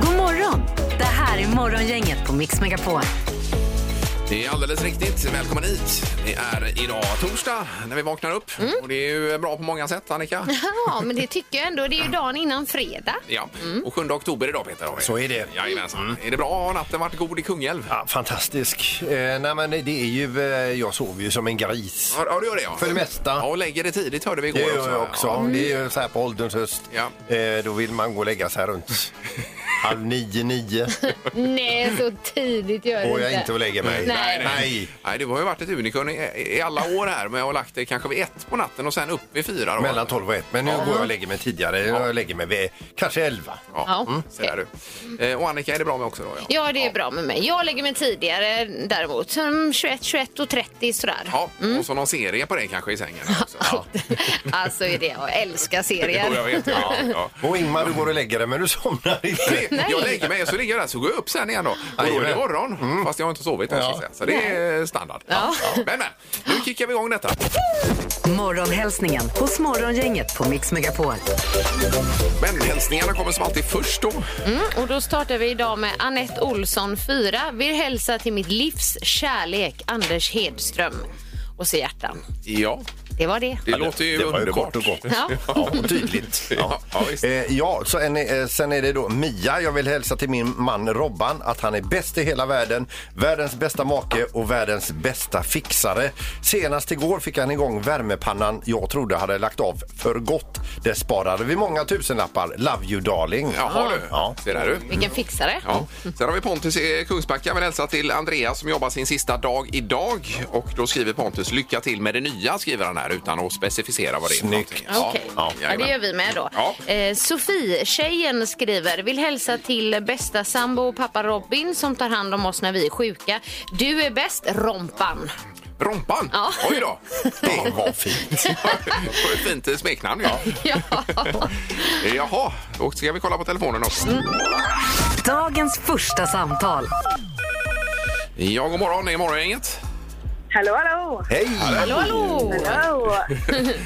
God morgon! Det här är Morgongänget på Mix Megapol. Det är alldeles riktigt. Välkommen hit. Det är idag torsdag när vi vaknar upp. Mm. Och det är ju bra på många sätt, Annika. Ja, men det tycker jag ändå. Det är ju dagen innan fredag. Ja. Och 7 oktober idag, Peter. Har vi. Mm. Så är det. Mm. Jajamensan. Är det bra? Har natten varit god i Kungälv? Ja, fantastisk. Eh, nej, men det är ju, eh, jag sover ju som en gris. Ja, ja, du gör det ja. För det mesta. Ja, och lägger det tidigt hörde vi igår Det gör jag också. Ja. Det är ju så här på ålderns höst. Mm. Ja. Eh, då vill man gå och lägga sig här runt halv nio, nio. Nej, så tidigt gör Går det jag inte och lägger mig. Nej. nej. Nej, det har ju varit ett unikum i, i alla år här med att ha lagt det kanske vid ett på natten och sen upp vid fyra. Då. Mellan 12 och 1. Men nu går jag och lägger mig tidigare. Jag lägger mig vid kanske 11. Ja, Ja, mm. så där du. Eh, Och Annika är det bra med också då? Ja, det är bra med mig. Jag lägger mig tidigare däremot. Som 21, 21 och 30 sådär. Ja, Mm. och så någon serie på det kanske i sängen. Också. Ja. Alltså är det, jag älskar Jo, jag serier. vet. Ja, ja. Och Ingmar, du går och lägger dig men du somnar inte. Nej. Jag lägger mig så ligger jag där så går jag upp sen igen då. Och då är det Jajamän. morgon. Fast jag har inte sovit än Mm. Ja. så att säga. Så det är standard. Ja. Ja. Men men, nu kickar vi igång detta. Morgonhälsningen hos Morgongänget på Mix Megapol. Men hälsningarna kommer som alltid först då. Och då startar vi idag med Anette Olsson 4. Vill hälsa till mitt livs kärlek, Anders Hedström. Och så hjärtan. Ja, Det var det. det låter ju det var ju underbart. kort och gott. Ja. Ja, och tydligt. Ja, ja, visst. Eh, ja, så en, eh, sen är det då Mia. Jag vill hälsa till min man Robban att han är bäst i hela världen, världens bästa make och världens bästa fixare. Senast igår fick han igång värmepannan jag trodde hade lagt av för gott. Det sparade vi många tusenlappar. Love you darling. Jaha du, Ja. ser där du. Vilken fixare. Ja. Sen har vi Pontus i Kungsbacka. Vill hälsa till Andreas som jobbar sin sista dag idag. Och då skriver Pontus lycka till med det nya, skriver han här utan att specificera vad det är. för Snyggt. någonting. Okej, ja, det jajamän. gör vi med då. Ja. Eh, Sofie-tjejen skriver, vill hälsa till bästa sambo och pappa Robin som tar hand om oss när vi är sjuka. Du är bäst, Rompan. Rompan? Ja. Oj då! Det var fint. Det var ett fint smeknamn. Ja. Ja. Jaha, och ska vi kolla på telefonen också. Dagens första samtal. Ja, god morgon. Det är morgongänget. Hallå, hallå! Hej! Hallå, hallå! Hallå!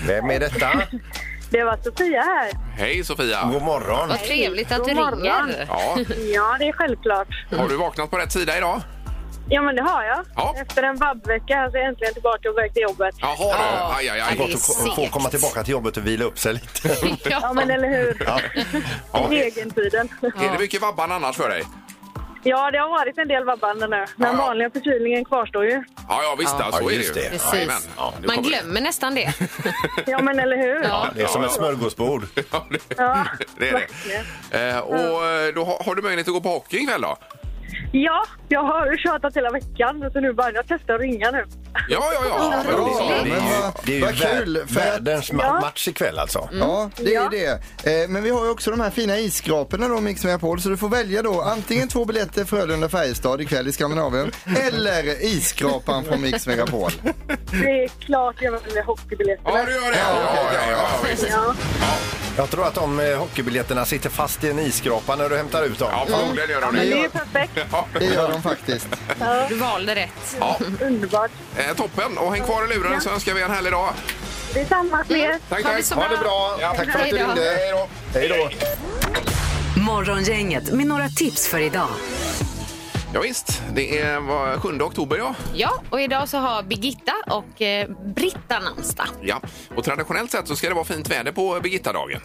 Vem är detta? Det var Sofia här. Hej Sofia! God morgon. Vad trevligt att du God morgon. ringer. Ja, Ja, det är självklart. har du vaknat på rätt sida idag? Ja, men det har jag. Ja. Efter en vabbvecka är jag äntligen tillbaka och på väg till jobbet. Jaha du. Ja. Aj, aj, Ja, det aj. är Gott att få segt. komma tillbaka till jobbet och vila upp sig lite. Ja, men eller hur? Ja. I Egentiden. Är det mycket Vabban annars för dig? Ja, det har varit en del vabbande nu. Den ja. vanliga förkylningen kvarstår ju. Ja, ja visst. Ja. Så Ja, är det ju. just det. Precis. Jajamän. Ja, nu Man kommer det. glömmer nästan det. Ja, men eller hur? Ja. Det är som ett smörgåsbord. Ja, det, Ja. det är det. Eh, och eh, då har, har du möjlighet att gå på hockey ikväll då? Ja, jag har ju tjatat hela veckan. Så nu bara, jag testar att ringa nu. Ja, ja, ja. Bra, Ja, det men är ju- vad, Det är ju vad kul! vär- För att, Mm. världens ma- match ikväll alltså. ja, det är det. Eh, men vi har ju också de här fina isskraporna då, Mix Megapol, så du får välja då antingen två biljetter Frölunda-Färjestad ikväll i Skandinavien eller isskrapan från Mix Megapol. Det är klart jag väljer hockeybiljetterna. Ja, du gör det. Ja, ja, ja, ja, visst. Ja. Jag tror att de eh, hockeybiljetterna sitter fast i en isskrapa när du hämtar ut dem. ja förmodligen gör Men de det är det. ju perfekt. Ja. Det gör de faktiskt. Du valde rätt. Ja, Underbart. eh, toppen. Och häng kvar i luren så önskar vi en härlig dag. Det är samma Mm. till er. Tack, Ha det tack. så Ha det bra! Ja. Tack för att du Hej då. ringde. Hej då. Hej då! Morgongänget med några tips för idag. Ja, visst, det är vad, 7 oktober ja. Ja, och idag så har Birgitta och eh, Britta namnsdag. ja. Och traditionellt sett så ska det vara fint väder på Birgitta-dagen.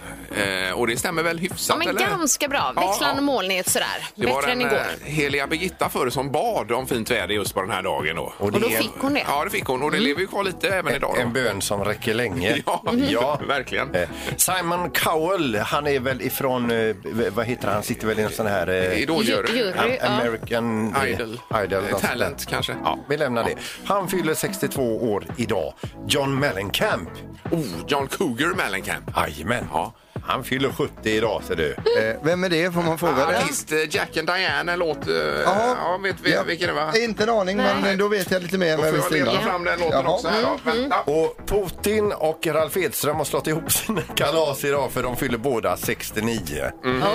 Eh, och det stämmer väl hyfsat? Ja, men eller? ganska bra. Ja, Växlande ja. molnighet sådär. Det var Bättre än den igår. eh, heliga Birgitta förr som bad om fint väder just på den här dagen. Då. Och då fick hon det. Mm. Ja, det fick hon. Och det lever ju kvar lite även idag. Då. En bön som räcker länge. Ja, verkligen. Eh, Simon Cowell, han är väl ifrån, eh, v- vad heter han, han sitter väl i en sån här... eh, Idoljuryn. Ju- jury. Am- American eh, Idol. Idol Eh, något sånt Talent, där. kanske. Ja, vi lämnar det. Han fyller 62 år idag. John Mellencamp. Oh, John Cougar Mellencamp. Jajamän. Ja. Han fyller 70 idag ser du. Eh, Vem är det får man fråga det? Artist eh, Jack and Diana låt. eh, Jaha. Ja, vet vi Ja. vilken det var? Inte en aning, men då vet jag lite mer. Då än vad får jag visste leta innan. fram den låten Jaha. Mm. också. Här, då. Vänta. Och Putin och Ralf Edström har slått ihop sina kalas idag för de fyller båda 69.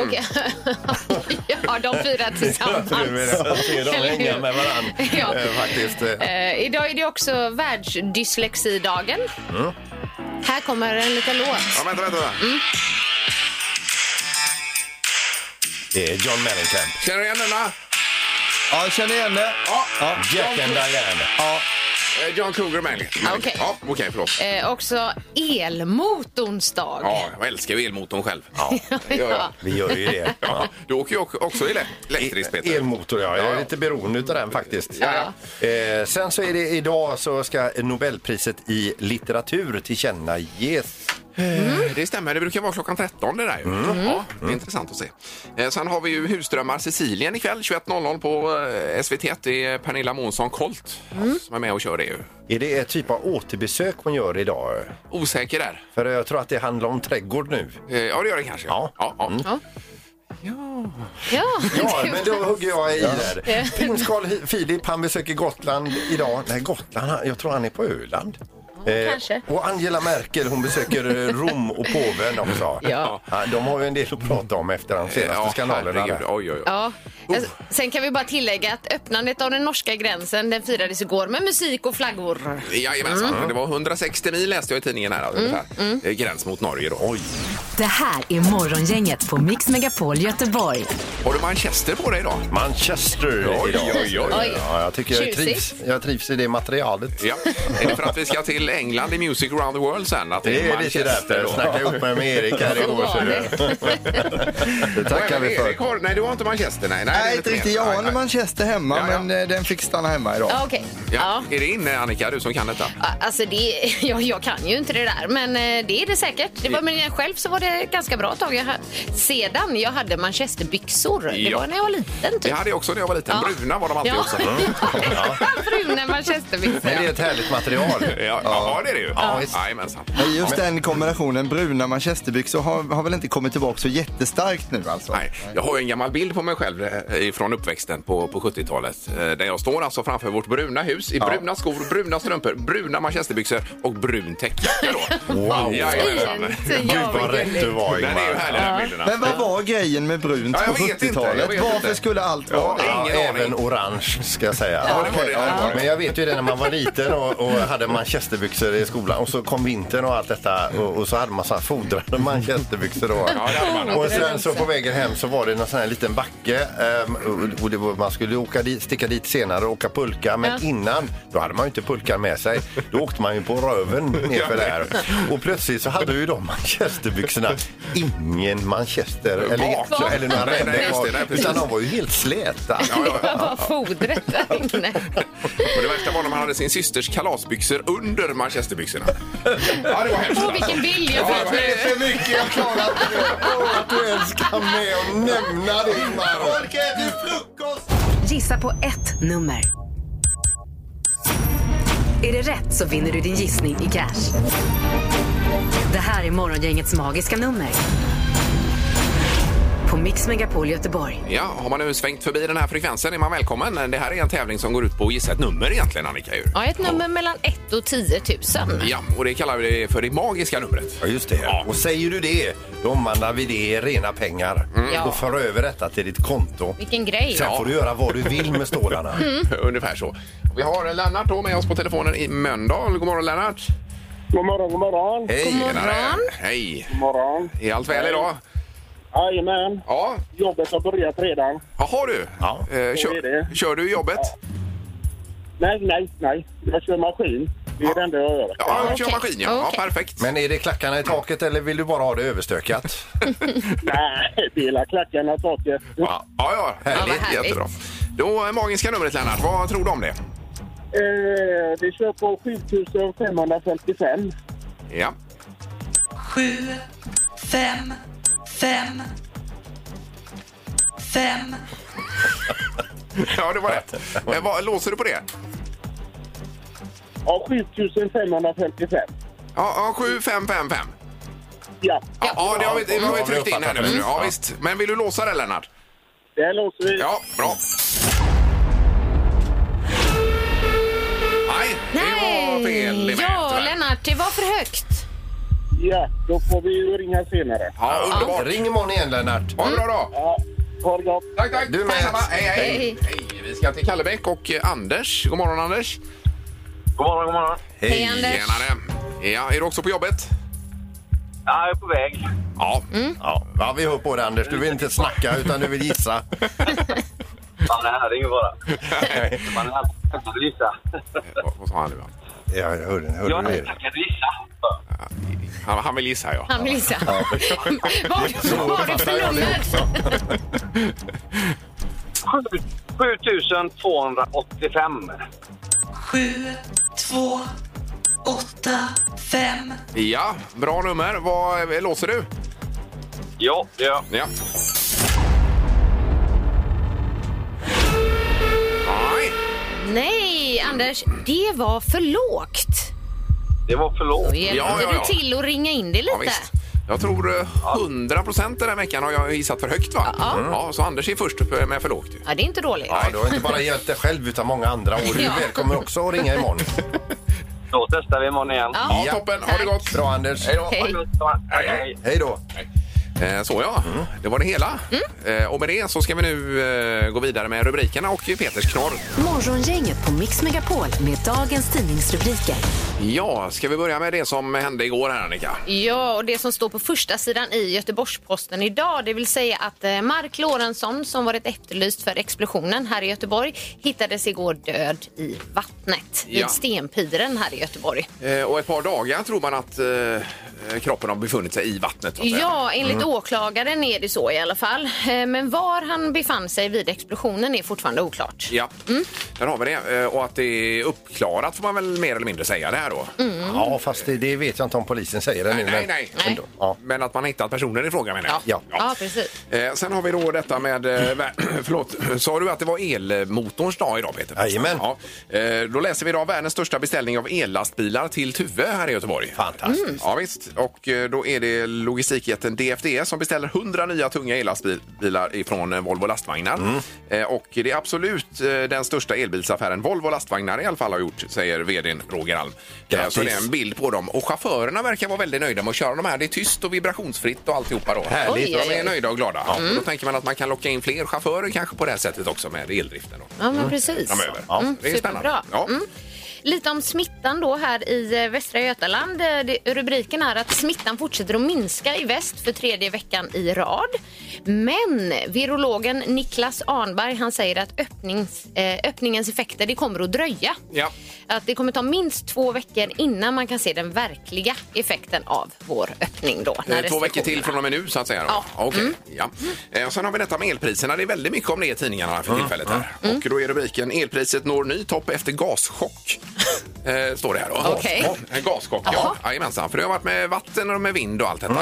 Okej. ja, de fyra tillsammans. Jag tror vi redan ser dem Eller hur? hänga med varandra Ja. eh, faktiskt. eh. Eh, idag är det också världsdyslexidagen. Här kommer en liten Ja, låt. vänta, vänta. vänta. Mm. Det är John Mellencamp. Känner du igen denna? Ja, jag känner igen det. Ja. Jack and Diane. Eh, John Cougar Melly. Ah, Okej. Ja, okej, förlåt. Eh, också elmotorns dag. Ja, jag älskar ju elmotorn själv. Ja, det gör jag. Ja. Vi gör ju det. Ja, du åker ju också ele- elektriskt, Peter. Elmotor, ja. Jag Ja, ja. är lite beroende av den faktiskt. Ja, Eh, sen så är det idag så ska Nobelpriset i litteratur tillkännages. Mm. Det stämmer, det brukar vara klockan 13 det där ju. Mm. Ja, det är intressant att se. Eh, Sen har vi ju Husdrömmar Sicilien ikväll 21.00 på eh, SVT1. Det är Pernilla Månsson Kolt Mm. som är med och kör det ju. Är det ett typ av återbesök hon gör idag? Osäker där. För jag tror att det handlar om trädgård nu. Eh, Ja, det gör det kanske. Ja. Mm. ja, ja. Ja, Ja, men då hugger jag i där. Prins Carl Hi- Philip han besöker Gotland idag. Nej, Gotland, han- jag tror han är på Öland. Eh, kanske. och Angela Merkel hon besöker eh, Rom och påven också. Ja. de har ju en del att prata om efter de senaste Ja, skandalerna. herregud. Oj, oj, oj. Ja. Jag- Sen kan vi bara tillägga att öppnandet av den norska gränsen den firades igår med musik och flaggor. Jajamensan, Mm. det var 160 mil läste jag i tidningen här. ungefär. Eh, Gräns mot Norge då. Oj. Det här är Morgongänget på Mix Megapol Göteborg. Har du Manchester på dig idag? Manchester Oj, idag. oj, oj. Oj. Ja, jag tycker jag Tjusigt. trivs, jag trivs i det materialet. Ja, är det för att vi ska till England i Music around the world sen? Att Det är lite Manchester därför. då? Jag snackade ihop mig med Erik här igår. var så det. Det tackar Nej, vi Erik för. har, nej, du har inte Manchester? Nej, nej, det är Nej, lite inte riktigt. mer. Jag Nej, har en nej. Manchester hemma, Ja, ja. men eh, den fick stanna hemma idag. Ja, okej. Ja. Ja. Är det inne, Annika, du som kan detta? Ja, Alltså det, jag, jag kan ju inte det där, men eh, det är det säkert. Det var med själv så var det ganska bra tag jag hade. sedan jag hade manchesterbyxor. Det Ja. var när jag var liten. Typ. Det hade jag också när jag var liten. Ja. Bruna var de alltid ja. också. Ja. Bruna Men det är manchesterbyxor. ett härligt material. Ja, ja, det är det ju. Ja, visst. Jajamensan. Men Just den kombinationen bruna manchesterbyxor har, har väl inte kommit tillbaka så jättestarkt nu alltså? Nej, jag har ju en gammal bild på mig själv eh, från uppväxten på, på 70-talet. eh, Där jag står alltså framför vårt bruna hus i bruna skor, bruna strumpor, bruna manchesterbyxor och brun täckjacka då. Wow. Jajamensan. Fint. Ja, Gud vad vad rätt gulligt. du var Den är ju Ingmar. härlig den bilderna. Men vad var grejen med brunt Ja, jag på vet inte, jag 70-talet? vet Varför inte. skulle allt Ja, vara det? Ja, Ingen även aning. orange ska jag säga. Ja, det var det. Okej, ja. Men jag vet ju det när man var liten och, och hade manchesterbyxor i skolan och så kom vintern och allt detta och, och så hade man så här fodrade manchesterbyxor då. det hade man. och sen så på vägen hem så var det någon sån här liten backe ehm, och- och det var, man skulle åka dit, sticka dit senare och åka pulka men innan då hade man ju inte pulkan med sig. Då åkte man ju på röven nerför där och plötsligt så hade ju de manchesterbyxorna ingen manchester Kvar. eller, eller några Nej, nej, just ränder det, nej, precis. utan de var ju helt släta. Ja, ja. Det var bara fodret där inne. Och det värsta var när man hade sin systers kalasbyxor under manchesterbyxorna. Ja, det var hemskt. Åh, vilken bild jag Ja, fick det var- nu. för mycket, jag klarar inte det. Åh, att du ens kan med och nämna det, Ingmar. Gissa på ett nummer. Är det rätt så vinner du din gissning i cash. Det här är Morgongängets magiska nummer. På Mix Megapol Göteborg. Ja, har man nu svängt förbi den här frekvensen är man välkommen. Det här är en tävling som går ut på att gissa ett nummer egentligen, Annika. Ju. Ja, ett nummer mellan 1 och 10 000. Ja, och det kallar vi det för det magiska numret. Ja, just det. Ja. Och säger du det, då omvandlar vi det i rena pengar Mm. Ja. och för över detta till ditt konto. Vilken grej. Sen får du göra vad du vill med stålarna. Mm. Ungefär så. Vi har Lennart då med oss på telefonen i Mölndal. God morgon Lennart! God morgon, god morgon. Hej! God morgon. tjenare. Hej! God morgon. Är allt väl idag? Jajamän. Ja. Jobbet har börjat redan. Jaha du! Ja. Eh, Så är det. kör, kör du i jobbet? Nej, nej, nej. Jag kör maskin. Det är det enda jag gör. Ja, jag kör Okej. maskin ja. ja Okej. perfekt. Men är det klackarna i taket eller vill du bara ha det överstökat? Nej, dela klackarna taket. Ja, ja, ja. härligt. Ja, vad härligt. Jättebra. Då eh, magiska numret Lennart, vad tror du om det? Eh, vi kör på 7555. Ja. Sju, fem, fem, fem. Ja, det var rätt. Eh, vad, låser du på det? Ja, 7555. Ja, ja 7555. Ja. Ja, det har vi, det har vi tryckt in här nu. Mm. Ja, visst. Men vill du låsa det, Lennart? Det låser vi. Ja, bra. Nej, det var fel i mig, Ja, tyvärr. Lennart, det var för högt. Ja, då får vi ju ringa senare. Ja, underbart. Ring imorgon igen Lennart. Ha det bra då. Ja, ha det gott. Tack, tack. Du med. Detsamma. Hej, hej. Hej. Hej, Vi ska till Kallebäck och eh, Anders. God morgon, Anders. God morgon, god morgon. Hej, Anders. Tjenare. Ja, är du också på jobbet? Ja, jag är på väg. Ja. Eh, Ja, ja, vi hör på det Anders. Du vill inte snacka utan du vill gissa. Ja, det här är ingen fara. Man är alltid taggad att gissa. Vad- Vad sa han nu? då? Ja, jag hörde, hörde Jag du är det? taggad att gissa. Han, han vill gissa, ja. Han vill gissa. Vad har du- vad har du fattar för jag det nummer? också. 7285. 7, 2, 8, 5. Ja, bra nummer. Vad eh, låser du? Ja, det gör jag. Ja. Nej. Nej, Anders, det var för lågt. Det var för lågt. Då hjälpte Ja, ja, ja. du till att ringa in det Ja, lite. visst. Jag tror eh, 100 procent den här veckan har jag gissat för högt. va? Ja, så Anders är först upp eh, med för lågt. ju. Ja, det är inte dåligt. Ja, du har inte bara hjälpt dig själv utan många andra och du är Ja. välkommen också att ringa imorgon. Då testar vi imorgon igen. Ja, Ja. toppen. Ha det gott. Bra Anders. Hej då. Hej. Hej, hej. Hej då. Eh, Så ja, Mm. det var det hela. Eh, Och med det så ska vi nu eh, gå vidare med rubrikerna och Peters knorr. Morgongänget på Mix Megapol med dagens tidningsrubriker. Ja, ska vi börja med det som hände igår här Annika? Ja, och det som står på första sidan i Göteborgs-Posten idag, det vill säga att eh, Mark Lorentzon som varit efterlyst för explosionen här i Göteborg hittades igår död i vattnet Ja. vid Stenpiren här i Göteborg. Eh, Och ett par dagar tror man att eh, kroppen har befunnit sig i vattnet. så att säga. Ja, enligt Mm. åklagaren är det så i alla fall. Eh, Men var han befann sig vid explosionen är fortfarande oklart. Ja, Mm. där har vi det. Eh, Och att det är uppklarat får man väl mer eller mindre säga det här då. Mm. Ja, fast det, det vet jag inte om polisen säger det nu. Mm. Nej, men- nej, nej. Ändå. Ja. Men att man har hittat personen i fråga menar jag. Ja. Ja, precis. Eh, Sen har vi då detta med... eh, vär- Förlåt, sa du att det var elmotorns dag idag Peter? Jajamän. Ja. Eh, Då läser vi idag världens största beställning av ellastbilar till Tuve här i Göteborg. Fantastiskt. Ja, visst. Och eh, då är det logistikjätten DFDS som beställer 100 nya tunga ellastbilar ifrån eh, Volvo Lastvagnar. Eh, Och det är absolut eh, den största elbilsaffären Volvo Lastvagnar i alla fall har gjort, säger vdn Roger Alm. Eh, Grattis. Så det är en bild på dem. Och chaufförerna verkar vara väldigt nöjda med att köra de här. Det är tyst och vibrationsfritt och alltihopa då. Härligt. Oj, De oj, är oj. nöjda och glada. Och då tänker man att man kan locka in fler chaufförer kanske på det här sättet också med eldriften. Då. Ja, men precis. Mm. Framöver. Ja, det är spännande. superbra. Ja. Mm. Lite om smittan då här i eh, Västra Götaland. Eh, det- Rubriken är att smittan fortsätter att minska i väst för tredje veckan i rad. Men virologen Niklas Arnberg han säger att öppnings, eh, öppningens effekter det kommer att dröja. Ja. Att det kommer ta minst två veckor innan man kan se den verkliga effekten av vår öppning. Då, när Eh, Två veckor till restriktionerna- från och med nu så att säga. Då. Ja. Mm. Okej, ja. Eh, Sen har vi detta med elpriserna. Det är väldigt mycket om det i tidningarna för tillfället. Här. Och då är rubriken Elpriset når ny topp efter gaschock. Eh, Står det här då. Okej. Ja, En Eh, gaschock, ja. Jaha. Jajamensan. För det har varit med vatten och med vind och allt detta.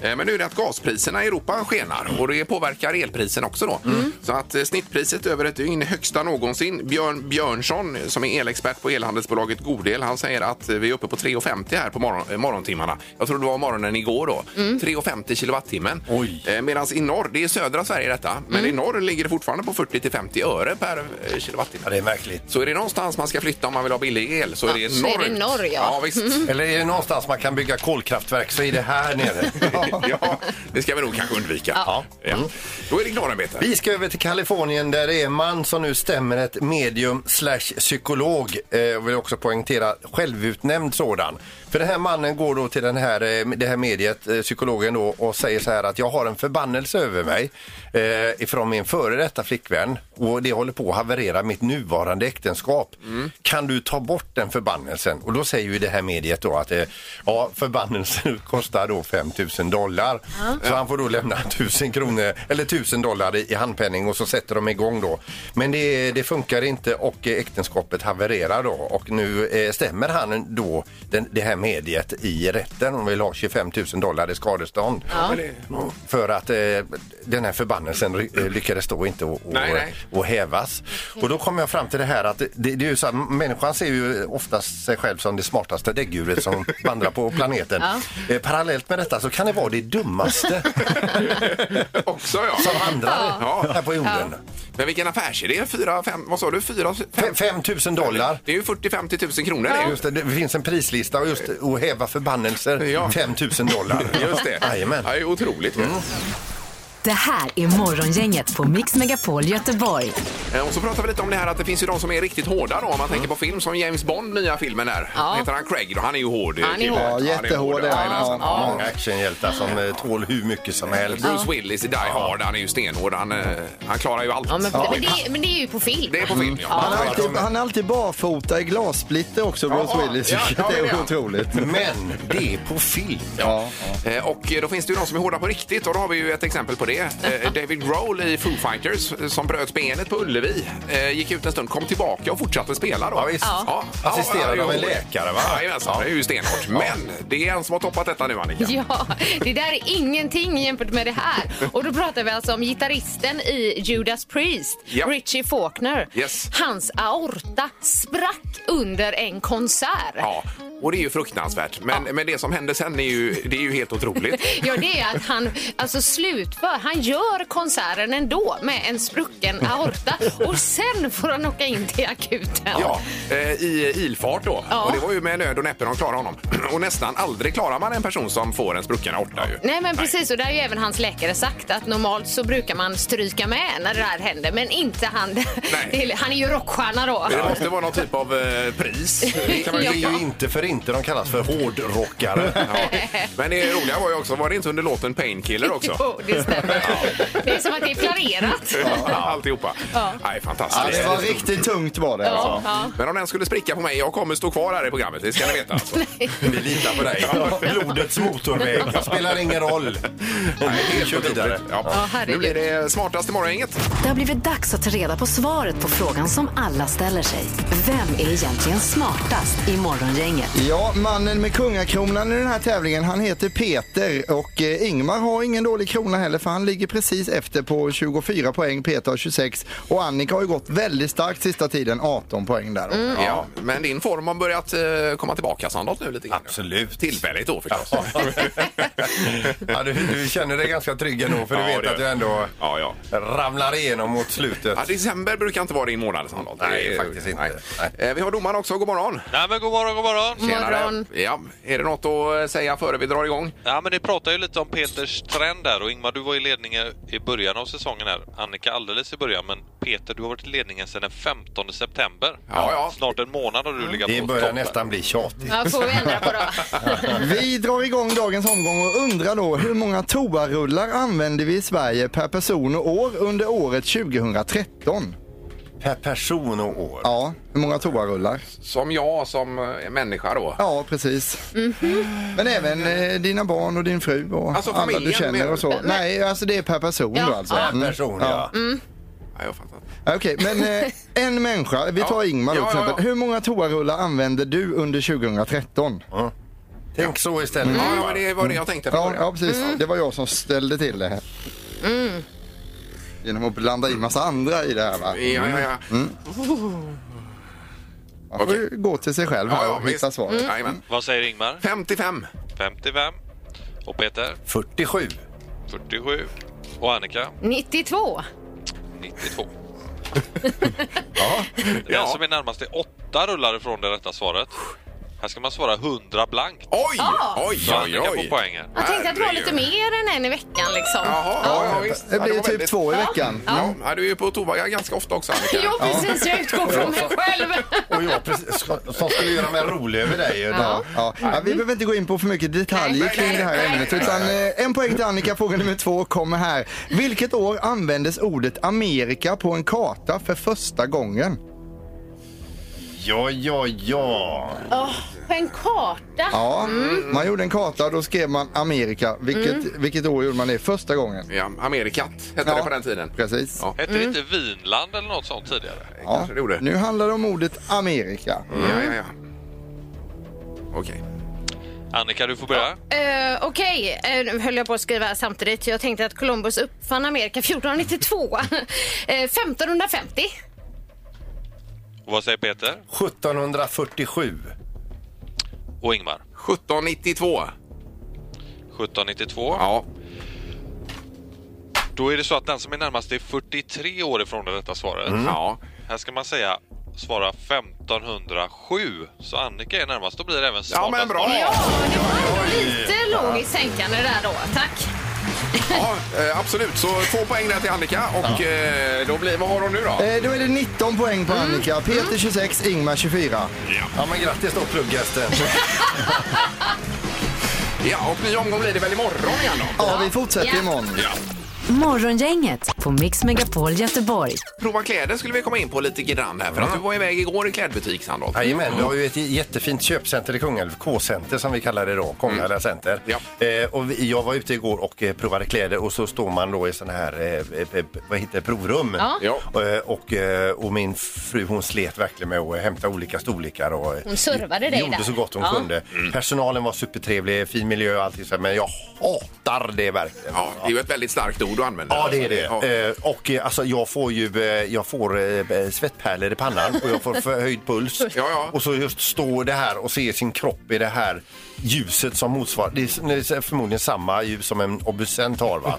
då. Eh, Men nu är det att gaspriserna i Europa skenar och det påverkar elprisen också då. Så att eh, snittpriset över ett dygn är högsta någonsin. Björn Björnsson som är elexpert på elhandelsbolaget Godel, han säger att eh, vi är uppe på 3,50 här på morgon, eh, morgontimmarna. Jag tror det var morgonen igår då. 3,50 kilowattimmen. Oj. Medan i norr, det är södra Sverige detta, men i norr ligger det fortfarande på 40 till 50 öre per eh, kilowattimme. Ja, det är märkligt. Så är det någonstans man ska flytta om man vill ha billig el så är det Ja, så är det norrut. norr, ja. ja visst. Eller är det någonstans man kan bygga kolkraftverk så är det här nere. ja, det ska vi nog kanske undvika. Ja. Mm. Då är det knorren, Peter. Vi ska över till Kalifornien där det är en man som nu stämmer ett medium slash psykolog. Eh, Jag vill också poängtera självutnämnd sådan. För den här mannen går då till den här, eh, det här mediet, eh, psykologen då och säger så här att jag har en förbannelse över mig eh, ifrån min före detta flickvän och det håller på att haverera mitt nuvarande äktenskap. Kan du ta bort den förbannelsen? Och då säger ju det här mediet då att eh, ja, förbannelsen kostar då 5 000 dollar. Så han får då lämna 1000 kronor eller 1000 dollar i i handpenning och så sätter de igång då. Men det, det funkar inte och eh, äktenskapet havererar då och nu eh, stämmer han då den, det här mediet i rätten och vill ha 25 000 dollar i skadestånd. För att eh, den här förbannelsen ry- eh, lyckades då inte och, och, Nej, nej. och hävas. Och då kommer jag fram till det här att det, det är ju så här, människan ser ju of, oftast sig själv som det smartaste däggdjuret som vandrar på planeten. Eh, Parallellt med detta så kan det vara det dummaste Också ja. som vandrar Ja. här på jorden. Men vilken affärsidé! Fyra, fem, vad sa du? Fyra, fem, Fe- 5 000 dollar. Det är ju 40-50 000 kronor det. Just det, det finns en prislista och just att häva förbannelser, Ja. 5 000 dollar. Just det. Jajamän. Ja, Det är otroligt. Mm. Det här är Morgongänget på Mix Megapol Göteborg. Eh, Och så pratar vi lite om det här att det finns ju de som är riktigt hårda då, om man tänker på film som James Bond, nya filmen där. Ja. Heter han Craig då? Han är ju hård. eh, Han är killen. hård. Ja, han är alltså. jättehård är han. Jajamensan. Ja. Många actionhjältar som eh, tål hur mycket som helst. Bruce Willis i Die Hard, han är ju stenhård. Han, eh, han klarar ju allt. Ja, men, men, det, men det är ju på film. Mm. Det är på film, ja. Han är, alltid, han är alltid barfota i glassplitter också, Bruce Ja, Willis. ja, ja, det det är är han. otroligt. Men det är på film. Ja. Eh, Och eh, då finns det ju de som är hårda på riktigt och då har vi ju ett exempel på det. Eh, David Grohl i Foo Fighters eh, som bröt benet på Ullevi. Eh, Gick ut en stund, kom tillbaka och fortsatte spela då. Ja, visst. Ja. Assisterad det är av en hård. läkare, va? Jajamensan, det är ju stenhårt. Men det är en som har toppat detta nu Annika. Ja, det där är ingenting jämfört med det här. Och då pratar vi alltså om gitarristen i Judas Priest, Ja. Richie Faulkner. Yes. Hans aorta sprack under en konsert. Ja. Ja, och det är ju fruktansvärt. Men, men det som hände sen är ju, det är ju helt otroligt. det är att han alltså slutför. Han gör konserten ändå med en sprucken aorta och sen får han åka in till akuten. Ja, eh, i ilfart då. Ja. Och det var ju med nöd och näppe de klarade honom. Och nästan aldrig klarar man en person som får en sprucken aorta ju. Nej men precis och det har ju även hans läkare sagt att normalt så brukar man stryka med när det här händer men inte han. Det är- Han är ju rockstjärna då. Men Det måste vara någon typ av eh, pris. Det är ju inte för inte de kallas för hårdrockare. Ja. Men det roliga var ju också, var det inte under låten Painkiller också? Jo, Oh, det stämmer. Det är som att det är flarerat. Ja, Alltihopa. Nej, Ja, fantastiskt. det var riktigt tungt var det. Alltså. Ja, ja. Men om den skulle spricka på mig, jag kommer stå kvar här i programmet, det ska ni veta. Alltså. Vi litar på dig. Blodets motorväg. Det spelar ingen roll. Vi kör vidare. Ja. Nu herregud. blir det smartaste morgongänget. Det har blivit dags att ta reda på svaret på frågan som alla ställer sig. Vem är egentligen smartast i Morgongänget? Ja, mannen med kungakronan i den här tävlingen, han heter Peter och eh, Ingmar har ingen dålig krona heller för han ligger precis efter på 24 poäng, Peter har 26 och Annika har ju gått väldigt starkt sista tiden, 18 poäng där. Ja. men din form har börjat eh, komma tillbaka Sandholt nu lite grann. Absolut. Tillfälligt då förstås. Ja, du, du känner dig ganska trygg ändå för du Ja, vet det- att du ändå Ja, ja. ramlar igenom mot slutet. Ja, december brukar inte vara din månad Sandholt. Nej, Det är- faktiskt inte. Eh, Vi har domaren också, god morgon. Nej men god morgon, god morgon. Morgon. Ja, är det något att eh, säga före vi drar igång? Ja men det pratar ju lite om Peters trend där och Ingmar du var i ledningen i början av säsongen här. Annika alldeles i början men Peter du har varit i ledningen sedan den 15 september. Ja, ja. Snart en månad har du legat Det på börjar toppen. nästan bli tjatigt. Ja, får vi ändra på då. Vi drar igång dagens omgång och undrar då hur många toarullar använder vi i Sverige per person och år under året 2013? Per person och år. Ja, hur många toarullar? Som jag som eh, människa då? Ja, precis. Men även eh, dina barn och din fru och Alltså, alla du familjen känner menar och så. du? Nej, alltså det är per person Ja. då alltså. Per person, ja. Mm. Ja, jag fattar. Ja, Okej, men eh, en människa. Vi tar Ja. Ingmar då Ja, till ja, exempel. ja. Hur många toarullar använde du under 2013? Tänk så istället. Mm. Ja, ja, men det var det jag Mm. tänkte. Ja, på. ja precis. Det var jag som ställde till det här. Mm. Genom att blanda in massa andra i det här va? Ja, ja, ja. Man får ju gå till sig själv här Ja, ja, och hitta visst. Mm. svaret. Jajamän. Vad säger Ingmar? 55. 55. Och Peter? 47. 47. Och Annika? 92. 92. ja. Den Ja. som är närmast är åtta rullar ifrån det rätta svaret. Här ska man svara 100 blankt. Oj! Ah! Oj, Så oj, Annika får oj. poäng här. Jag tänkte att det var lite mer än en i veckan liksom. Jaha, ja, ja, visst. Det Ja, blir var typ väldigt- två i veckan. Ja, ja, du är ju på toa ganska ofta också, Annika. Jo, precis. Jag utgår från mig själv. Och jag precis, ska- som skulle göra mig rolig över dig. Ja. Ja, ja. Ja, Mm. vi behöver inte gå in på för mycket detaljer Nej. kring det här ämnet. Utan, eh, en poäng till Annika, fråga nummer två kommer här. Vilket år användes ordet Amerika på en karta för första gången? ja, ja, ja. Åh, på en karta. Ja, Mm. man gjorde en karta och då skrev man Amerika. Vilket, vilket år gjorde man det första gången? Ja, Amerikat hette Ja. det på den tiden. Precis. Ja. Hette det inte Vinland eller något sånt tidigare? Ja, Kanske det gjorde. Nu handlar det om ordet Amerika. Ja, Mm. ja, ja. Okej. Annika, du får börja. Eh, Okej, eh, nu höll jag på att skriva samtidigt. Jag tänkte att Columbus uppfann Amerika 1492. Eh, 1550. Och vad säger Peter? 1747. Och Ingmar? 1792. 1792. Ja. Då är det så att den som är närmast är 43 år ifrån det rätta svaret. Mm. Ja. Här ska man säga svara 1507. Så Annika är närmast. Då blir det även Ja, smartast. men bra! Lite logiskt tänkande där då. Tack. Ja, eh, absolut. Så två poäng där till Annika. Och eh, då blir, vad har hon nu då? Eh, Då är det 19 poäng på Annika. Peter 26, Ingmar 24. Ja, men grattis då pluggästen. Ja, och ny omgång blir det väl imorgon igen då? Ja, vi fortsätter imorgon. Morgongänget på Mix Megapol Göteborg. Prova kläder skulle vi komma in på lite grann här. För att du var iväg igår i klädbutik, Sandholt. Jajamän, vi har ju ett jättefint köpcenter i Kungälv, K-center som vi kallar det då, Kungälv Mm. center. Eh, och vi, jag var ute igår och eh, provade kläder och så står man då i sån här, eh, eh, eh, vad heter det, provrum. Ja. Eh, och, eh, och min fru hon slet verkligen med att hämta olika storlekar och eh, Hon servade dig gjorde där. så gott hon Ja. kunde. Mm. Personalen var supertrevlig, fin miljö och allting så här, men jag hatar det verkligen. Ja, det är ju ett väldigt starkt ord du använder. Ja, det är Ja. det. Eh, Och eh, alltså, jag får ju eh, jag får eh, svettpärlor i pannan och jag får förhöjd puls. Ja, ja. Och så just stå det här och se sin kropp i det här ljuset som motsvarar. Det är förmodligen samma ljus som en obducent har, va?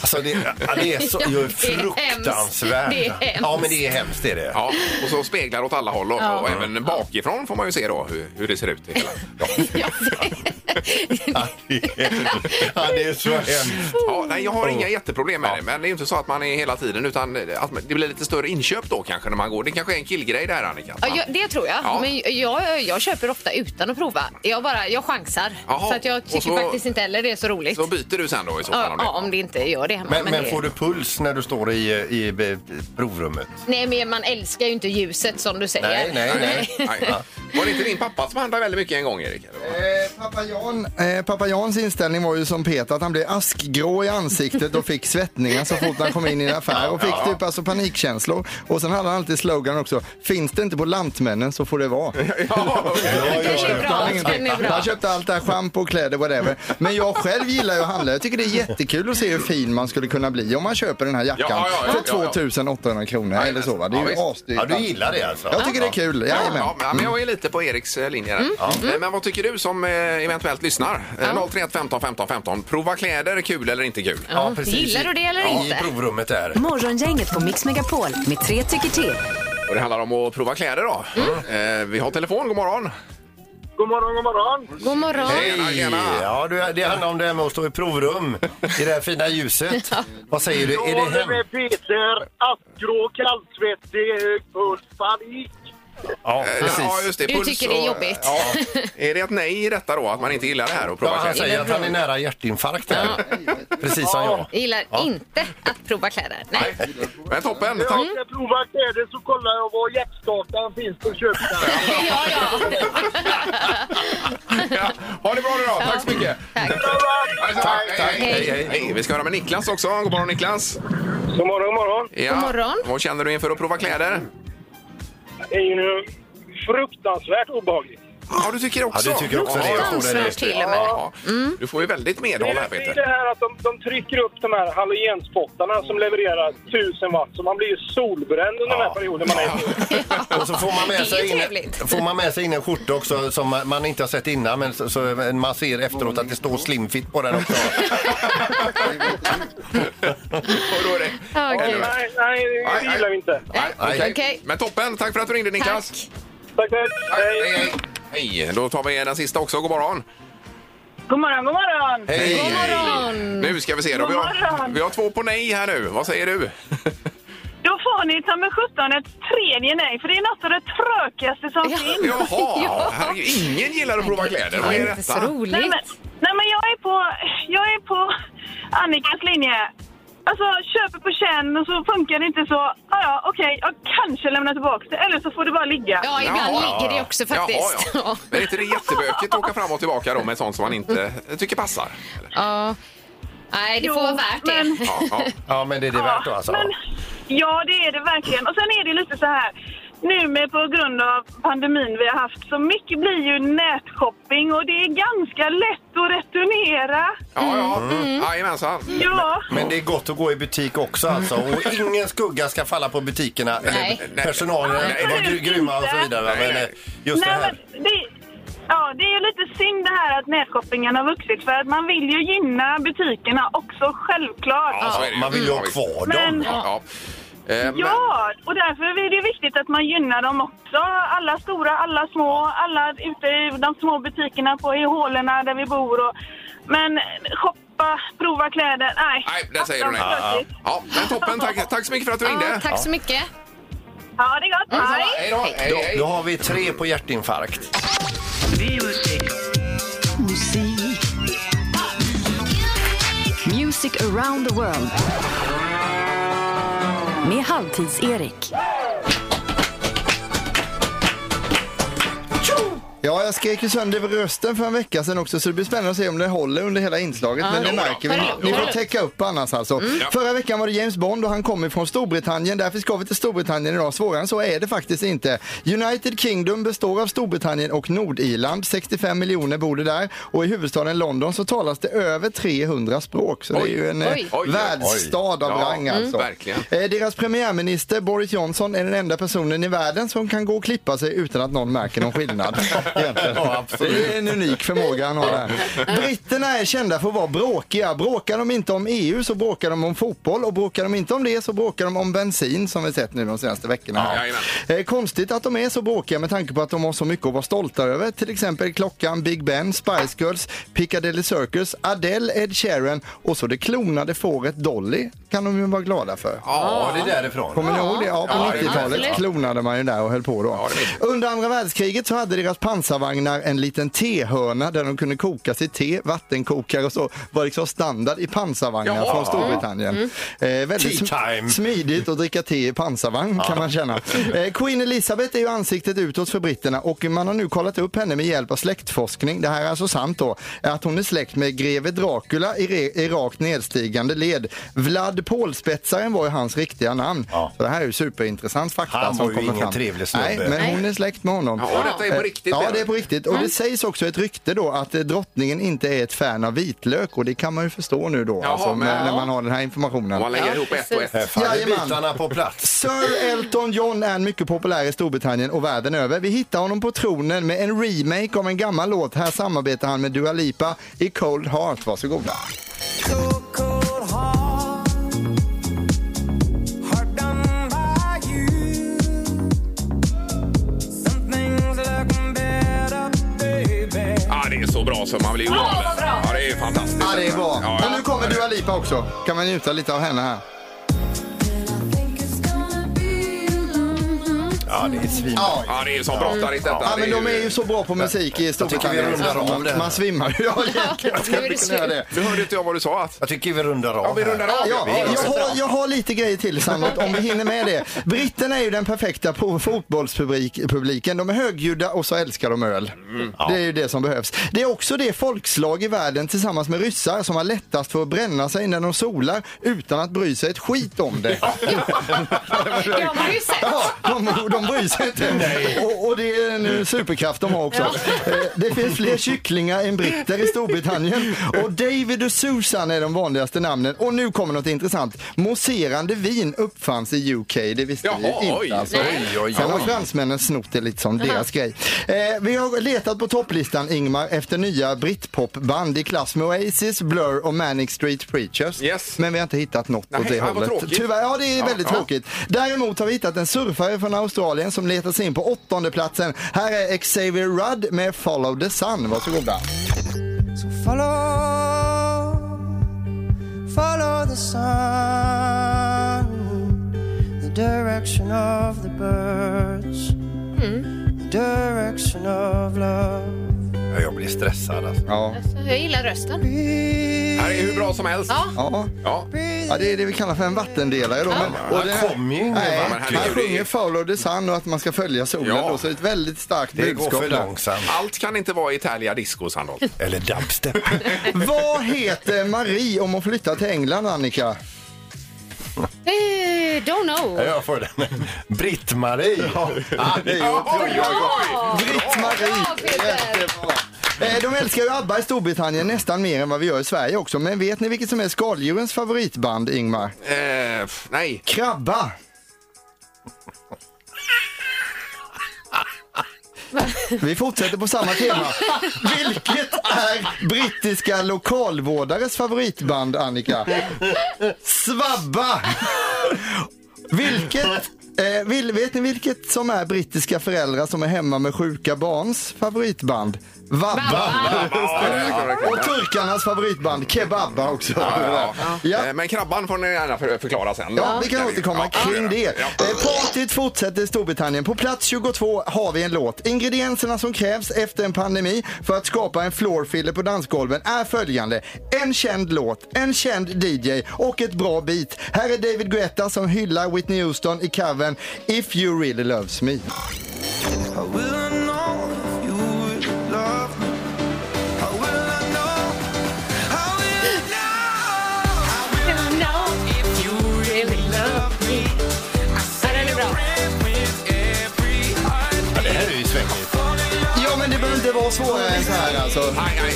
Alltså, det, ja, det är så Ja, jag är det är hemskt. fruktansvärt. Det är hemskt. Ja, men det är hemskt, det är det. Ja, och så speglar åt alla håll och, Ja. och även bakifrån får man ju se då hur, hur det ser ut. i Hela. Ja, det är, ja, det är så hemskt. Mm. Ja, nej, jag har inga jätteproblem med det, men det är ju inte så att man är hela tiden utan eh, att man- det blir lite större inköp då kanske när man går. Det kanske är en killgrej det här Annika. Ja, jag, det tror jag. Ja. Men jag, jag köper ofta utan att prova. Jag bara, jag chansar. Jaha, Så att jag och tycker så- faktiskt inte heller det är så roligt. Så byter du sen då i så fall ja, om det. ja, om det inte gör det hemma. Men, men det... får du puls när du står i, eh, i, i provrummet? Nej, men man älskar ju inte ljuset som du säger. Nej, nej, nej. Nej. Var det inte din pappa som handlade väldigt mycket en gång Erik? eller vad? Eh, Pappa Jan, eh, pappa Jans inställning var ju som Peter att han blev askgrå i ansiktet och fick svettningar så fort han kom in i en affär och fick typ alltså panikkänslor. Och sen hade han alltid slogan också, finns det inte på Lantmännen så får det vara. Eh, Ja, okej. Den är bra. Den är bra. Han köpte allt det här, schampo, kläder, whatever. Men jag själv gillar ju att handla. Jag tycker det är jättekul att se hur fin man skulle kunna bli om man köper den här jackan Ja, ja, ja, ja, för ja. 2800 kronor eller så. Va? Det Ja, är ju visst. asdyrt. Ja, du gillar det alltså? Jag tycker det är kul, jajamän. Ja, men jag är lite på Eriks eh, linje där. Mm, Ja. Eh, Men vad tycker du som eh, eventuellt lyssnar? Eh, Ja. 031 15 15 15. Prova kläder, kul eller inte kul? Ja, precis. Gillar du det eller ja, inte? I provrummet där. Morgongänget på Mix Megapol med tre tycker till. Och det handlar om att prova kläder då. Mm. Eh, Vi har telefon, god morgon. God morgon, god morgon. God morgon. Tjena, tjena. Ja, du, det handlar om det här med att stå i provrum i det här fina ljuset. Vad säger du? Är det hem? med Peter. Askgrå, kallsvettig, hög puls, panik. Ja, Ja, precis. just det. Du Puls tycker det är och- jobbigt. Ja. Är det ett nej i detta då, att man inte gillar det här och Ja, provar han kläder? säger att han är nära hjärtinfarkt där. Precis som jag. Jag gillar inte att prova kläder. Nej. Men toppen, När tack. jag ska prova kläder så kollar jag var hjärtstartaren finns på köpcentret. Ja, ja. Ja. Ha det bra nu då, tack så mycket. Tack, tack. Hej, Hej, hej. hej. Vi ska höra med Niklas också. God morgon Niklas. God morgon, god morgon. Ja. God morgon. Vad känner du inför att prova kläder? Det är ju nu fruktansvärt obehagligt. Ja, du tycker också. Ja, du tycker också det. Jag tror det. Fruktansvärt till och med. Ja. Du får ju väldigt Det medhåll här är, det, är Peter. det här att de, de trycker upp de här halogenspottarna som levererar tusen watt så man blir ju solbränd under den här perioden man är i. Och så får man Det är med sig ju in, trevligt. får man med sig in en skjorta också som man- man inte har sett innan men så, så man ser efteråt att det står slimfit på den också. Och då är det- Ja, gud. Nej, nej, Nej, det nej. gillar vi inte. Nej, Nej. Okej. Men toppen, tack för att du ringde Niklas. Tack, Tack. tack. Tack, Hej, hej. hej. Då tar vi den sista också. God morgon. God morgon, god morgon! Hej! God morgon. Nu ska vi se då. Vi God har, morgon. vi har två på nej här nu. Vad säger du? Då får ni ta med sjutton ett tredje nej, för det är något av det tråkigaste som Ja. finns. Jaha, herregud, ingen gillar att prova kläder. Vad är Det är inte så detta? Nej men, roligt. nej, men jag, är på, jag är på Annikas linje. Alltså, köper på känn och så funkar det inte så. Ja, ja, okej, jag kanske lämnar tillbaka det, eller så får det bara ligga. Ja, ibland Jaha. ligger det också faktiskt. Jaha, ja. Men är inte det jättebökigt att åka fram och tillbaka då med sånt som man inte tycker passar? Eller? Ja. Nej, det Jo, får vara värt det. men- Ja, ja. Ja, men det är det värt då alltså. Men, ja, det är det verkligen. Och sen är det lite så här. nu med på grund av pandemin vi har haft så mycket blir ju nätshopping och det är ganska lätt att returnera. Ja, ja. Jajamensan. Ja. Men det är gott att gå i butik också alltså. Och ingen skugga ska falla på butikerna. Nej. Eller personalen Nej. var gry- grymma och så vidare. Men eh, just det Nej, här. Men det, ja, det är ju lite synd det här att nätshoppingen har vuxit för att man vill ju gynna butikerna också, självklart. Ja, så är det Man vill ju ha kvar Men- dem. Ja, ja. Eh, men- Ja, och därför är det viktigt att man gynnar dem också. Alla stora, alla små, alla ute i de små butikerna på, i hålorna där vi bor. Och, men shoppa, prova kläder, nej. Nej, där säger hon det. Ja, ja. Ja, men toppen. Tack, tack så mycket för att du ringde. Ja, tack så mycket. Ja, det är gott. Mm. Hej. Hej då. Hej, Då, hej. då har vi tre på hjärtinfarkt. Music around the world. Med Halvtids-Erik. Ja, jag skrek ju sönder rösten för en vecka sedan också så det blir spännande att se om det håller under hela inslaget. Ja, Mm. men det jo då. märker vi. Ta det lugnt, Ni ta det får lugnt. täcka upp annars alltså. Förra veckan var det James Bond och han kommer från Storbritannien. Därför ska vi till Storbritannien idag. Svårare än så är det faktiskt inte. United Kingdom består av Storbritannien och Nordirland. 65 miljoner bor det där. Och i huvudstaden London så talas det över 300 språk. Så det är ju en eh, Oj. Oj, oj, oj. världsstad av Ja, rang mm. alltså. verkligen. Eh, Deras premiärminister Boris Johnson är den enda personen i världen som kan gå och klippa sig utan att någon märker någon skillnad. Egentligen. Ja, absolut. Det är en unik förmåga han har där. Britterna är kända för att vara bråkiga. Bråkar de inte om EU så bråkar de om fotboll och bråkar de inte om det så bråkar de om bensin som vi sett nu de senaste veckorna. här. Ja, jajamän. Eh, konstigt att de är så bråkiga med tanke på att de har så mycket att vara stolta över. Till exempel klockan, Big Ben, Spice Girls, Piccadilly Circus, Adele, Ed Sheeran och så det klonade fåret Dolly kan de ju vara glada för. Ja, det är därifrån. Kommer ni ihåg det? Ja, på Ja, 90-talet absolut. klonade man ju där och höll på då. Under andra världskriget så hade deras pansarvagnar en liten tehörna där de kunde koka sitt te, vattenkokare och så var liksom standard i pansarvagnar Jaha. från Storbritannien. Mm. Eh, väldigt Tea sm- time. smidigt att dricka te i pansarvagn Ja. kan man känna. Eh, Queen Elizabeth är ju ansiktet utåt för britterna och man har nu kollat upp henne med hjälp av släktforskning. Det här är alltså sant då. Att hon är släkt med greve Dracula i, re- i rakt nedstigande led. Vlad Pålspetsaren var ju hans riktiga namn. Så det här är ju superintressant fakta Han som var ju kommer ingen fram. trevlig snubbe. Nej, men Nej. hon är släkt med honom. Ja, och detta är på Eh, riktigt, Mm. Ja, menar det du? är på riktigt. Och det sägs också ett rykte då att eh, drottningen inte är ett fan av vitlök och det kan man ju förstå nu då. Jaha, alltså, men- när- när man har den här informationen. Man lägger Ja, ihop ett och ett. precis. Här faller bitarna på plats. Sir Elton John är en mycket populär i Storbritannien och världen över. Vi hittar honom på tronen med en remake av en gammal låt. Här samarbetar han med Dua Lipa i Cold Heart. Varsågoda. Ja, det är så bra så man blir ju glad. Ja, vad bra. Ja, det är fantastiskt. Ja, det är bra. Ja, ja. Och nu kommer Dua Lipa också. Kan man njuta lite av henne här. Ja, det är svinbra. Ja, det är som pratar i detta. Mm. Ja, men Det de är ju så bra på musik i Jag tycker vi Storbritannien. rundar Alltså, av man, det. man svimmar ju. Ja, egentligen. Jag skulle kunna göra det. Nu hörde inte jag vad du sa. Att... Jag tycker vi rundar av. Ja, vi rundar av. här. Ja, Vi är jag, så har, bra. jag har lite grejer till Sandra, om vi hinner med det. Britterna är ju den perfekta po- fotbollspubliken. De är högljudda och så älskar de öl. Det är ju det som behövs. Det är också det folkslag i världen tillsammans med ryssar som har lättast för att bränna sig när de solar utan att bry sig ett skit om det. Det har man ju sett. Ja, de, de bryr sig inte. Och, och det är en eh, superkraft de har också. Eh, Det finns fler kycklingar än britter i Storbritannien. Och David och Susan är de vanligaste namnen. Och nu kommer något intressant. Mousserande vin uppfanns i UK. Det visste vi Jaha, ju inte. oj. alltså. Nej. Oj, oj, Sen har oj. fransmännen snott det lite som Jaha. deras grej. Eh, vi har letat på topplistan, Ingmar, efter nya britpopband i klass med Oasis, Blur och Manic Street Preachers. Men vi har inte hittat något åt Nej, det ja, vad hållet. tråkigt. Tyvärr, ja, det är Ja, väldigt ja. tråkigt. Däremot har vi hittat en surfare från Australien som letar sig in på åttonde platsen. Här är Xavier Rudd med Follow the Sun. Varsågoda. Follow, follow the sun, the direction of the birds, the direction of love. Ja, Jag blir stressad alltså. Ja. Så Jag gillar rösten. Det här är hur bra som helst. Ja. Ja. Ja. Ja, det är det vi kallar för en vattendelare. Då. Ja. Han kommer ju ingen Nej, vatten. Han sjunger Follow the sun och att man ska följa solen. Då, så ett väldigt starkt Det går budskap. för där. långsamt. Allt kan inte vara Italia Disco, Sandholt. Eller dubstep. Vad heter Marie om hon flyttar till England, Annika? Eh, don't know. Ja, Jag får den. Britt-Marie. Ah, det är ju otroligt. Britt-Marie. Jättebra. Eh, De älskar ju ABBA i Storbritannien nästan mer än vad vi gör i Sverige också. Men vet ni vilket som är skaldjurens favoritband, Ingmar? Eh, f- nej. Krabba. Vi fortsätter på samma tema. Vilket är brittiska lokalvårdares favoritband, Annika? Svabba! Vilket, eh, vil, vet ni vilket som är brittiska föräldrar som är hemma med sjuka barns favoritband? Vabba! Och turkarnas favoritband Kebabba också. Ja, ja. Eh, Men krabban får ni gärna för- förklara sen. Ja, vi kan Den- återkomma ja, kring det. Ja. Eh, Partyt fortsätter i Storbritannien. På plats 22 har vi en låt. Ingredienserna som krävs efter en pandemi för att skapa en floorfiller på dansgolven är följande. En känd låt, en känd DJ och ett bra beat. Här är David Guetta som hyllar Whitney Houston i covern If You Really Loves Me. Ja, det här är ju svängigt. Ja, men det behöver inte vara svårare än så här alltså. Nej, nej.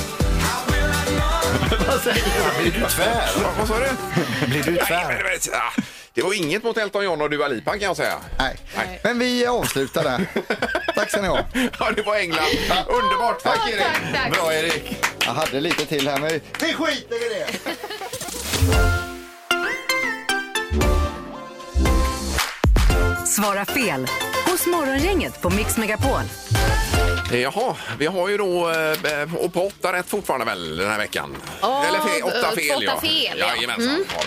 Vad säger du? Blir du tvär? Vad- Vad sa du? Blir du Nej, men- men- ah, Det var inget mot Elton John och Dua Lipa kan jag säga. Nej. Men vi avslutar där. Tack ska ni ha. Ja, det var England. Underbart. Tack, Erik. Bra Erik. Jag hade lite till här men vi skiter i det. Svara fel hos Morgongänget på Mix Megapol. Jaha, vi har ju då eh, eh, och på åtta rätt fortfarande väl den här veckan. Ja, Eller fe, åtta eh, fel åtta ja. fel, ja. Jajamensan Mm. har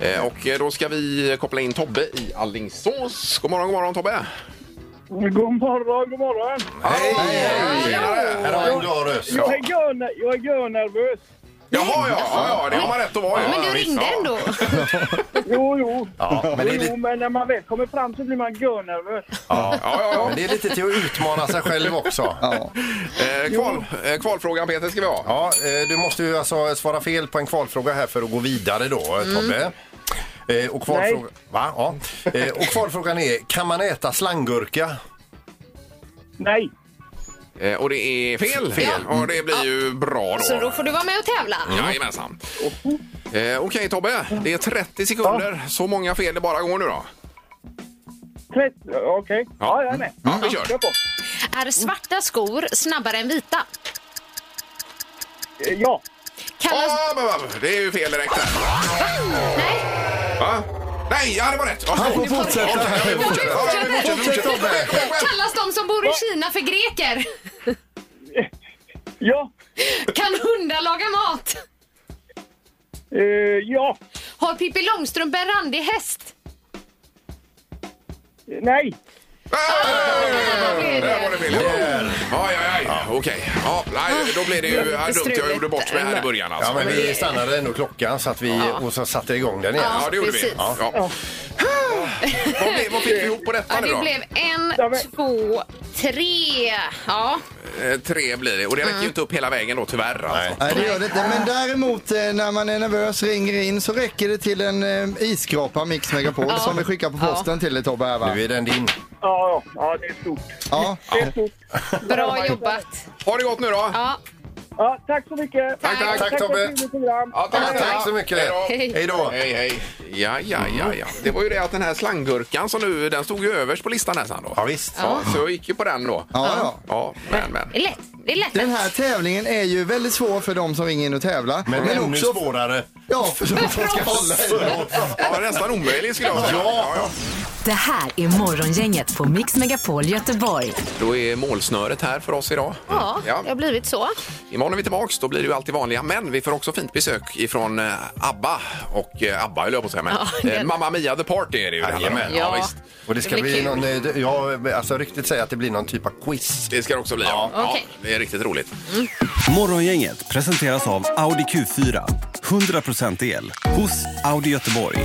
vi. Eh, Och eh, då ska vi koppla in Tobbe i Alingsås. God morgon, god morgon Tobbe. God morgon, god morgon! Hej! Här har vi en bra röst. Jag är görner- jag är görnervös. Jaha, ja, ja, ja, det har man rätt att vara. Ja, Men du ringde Ja. ändå. Jo, jo. Ja, men det är jo, lite- men när man väl kommer fram så blir man görnervös. Ja. Ja, ja, ja. Men det är lite till att utmana sig själv också. Ja. Eh, kval, eh, kvalfrågan Peter ska vi ha. Ja, eh, du måste ju alltså svara fel på en kvalfråga här för att gå vidare då, eh, Tobbe. Eh, Och kvalfrågan, va? Ja. Eh, Och kvalfrågan är, kan man äta slanggurka? Nej. Eh, Och det är fel. Fel. Och det blir ju bra då. Så Alltså, då får du vara med och tävla. Jajamensan. Eh, Okej Tobbe, det är 30 sekunder. Så många fel det bara går nu då. Trätt- Okej. Ja, jag är med. Ja, vi kör. Kör på. Är svarta skor snabbare än vita? Eh, Ja. Kallas... Ah, bah, bah, bah. Det är ju fel direkt där. Va? Nej, ja det var rätt. Ja, Han får ja, fortsätta. ja, vi fortsätter. Ja, vi fortsätter, vi fortsätter. Tobbe. Kom igen, kom igen. Kallas de som bor i Kina för greker? Ja. Kan hundar laga mat? Eh, ja. Har Pippi Långstrump en randig häst? Nej. Där var det fel. Ja, ja, ja, ja. Okej. Ja, nej, då blev det ju ja, dumt. Jag gjorde bort mig här i början Ja, alltså. men vi stannade ändå klockan så att vi, och så satte igång den igen. Ja, det gjorde vi. Precis. Ja. Ja. Vad, blev, vad fick vi ihop på Ja, detta nu det då? blev en, två, tre. Ja. Eh, tre blir det. Och det räcker ju inte upp hela vägen då tyvärr alltså. Nej, det gör det inte. Men däremot eh, när man är nervös ringer in så räcker det till en eh, isskrapa Mix Megapol Ja. som vi skickar på posten till dig Tobbe här va? Nu är den din. Ja, ja. ja, det är stort. Ja. Det är stort. Bra jobbat. Ha det gott nu då. Ja. Ja, tack så mycket. Tack, tack. Tack, Tobbe. för ett trevligt program. Ja, Ja, tack så mycket. Hej Hej då. då. Hej, hej. Ja, ja, ja, ja. Det var ju det att den här slanggurkan som nu, den stod ju överst på listan här sen då. Ja, visst. Ja, så jag gick ju på den då. Ja, ja. Ja, men, men. Det är lätt. Det är lätt. Den här tävlingen är ju väldigt svår för de som ringer in och tävlar. Men, Men ännu också svårare. ja, för de som ska hålla i det. Ja, nästan omöjlig skulle jag säga. Ja, ja. Det här är Morgongänget på Mix Megapol Göteborg. Då är målsnöret här för oss idag. Ja, Ja. det har blivit så. Imorgon är vi tillbaks, då blir det ju alltid vanliga. Men vi får också fint besök ifrån eh, ABBA. Och eh, ABBA höll jag på att säga, men Ja, det- eh, Mamma Mia The Party är det ju. det handlar om. Jajamän. Ja, Ja. visst. Och det ska Det blir bli kul. någon, eh, ja, alltså riktigt säga att det blir någon typ av quiz. Det ska det också bli. Ja. Ja, Okej. det är riktigt roligt. Morgongänget presenteras av Audi Q4. 100% el hos Audi Göteborg.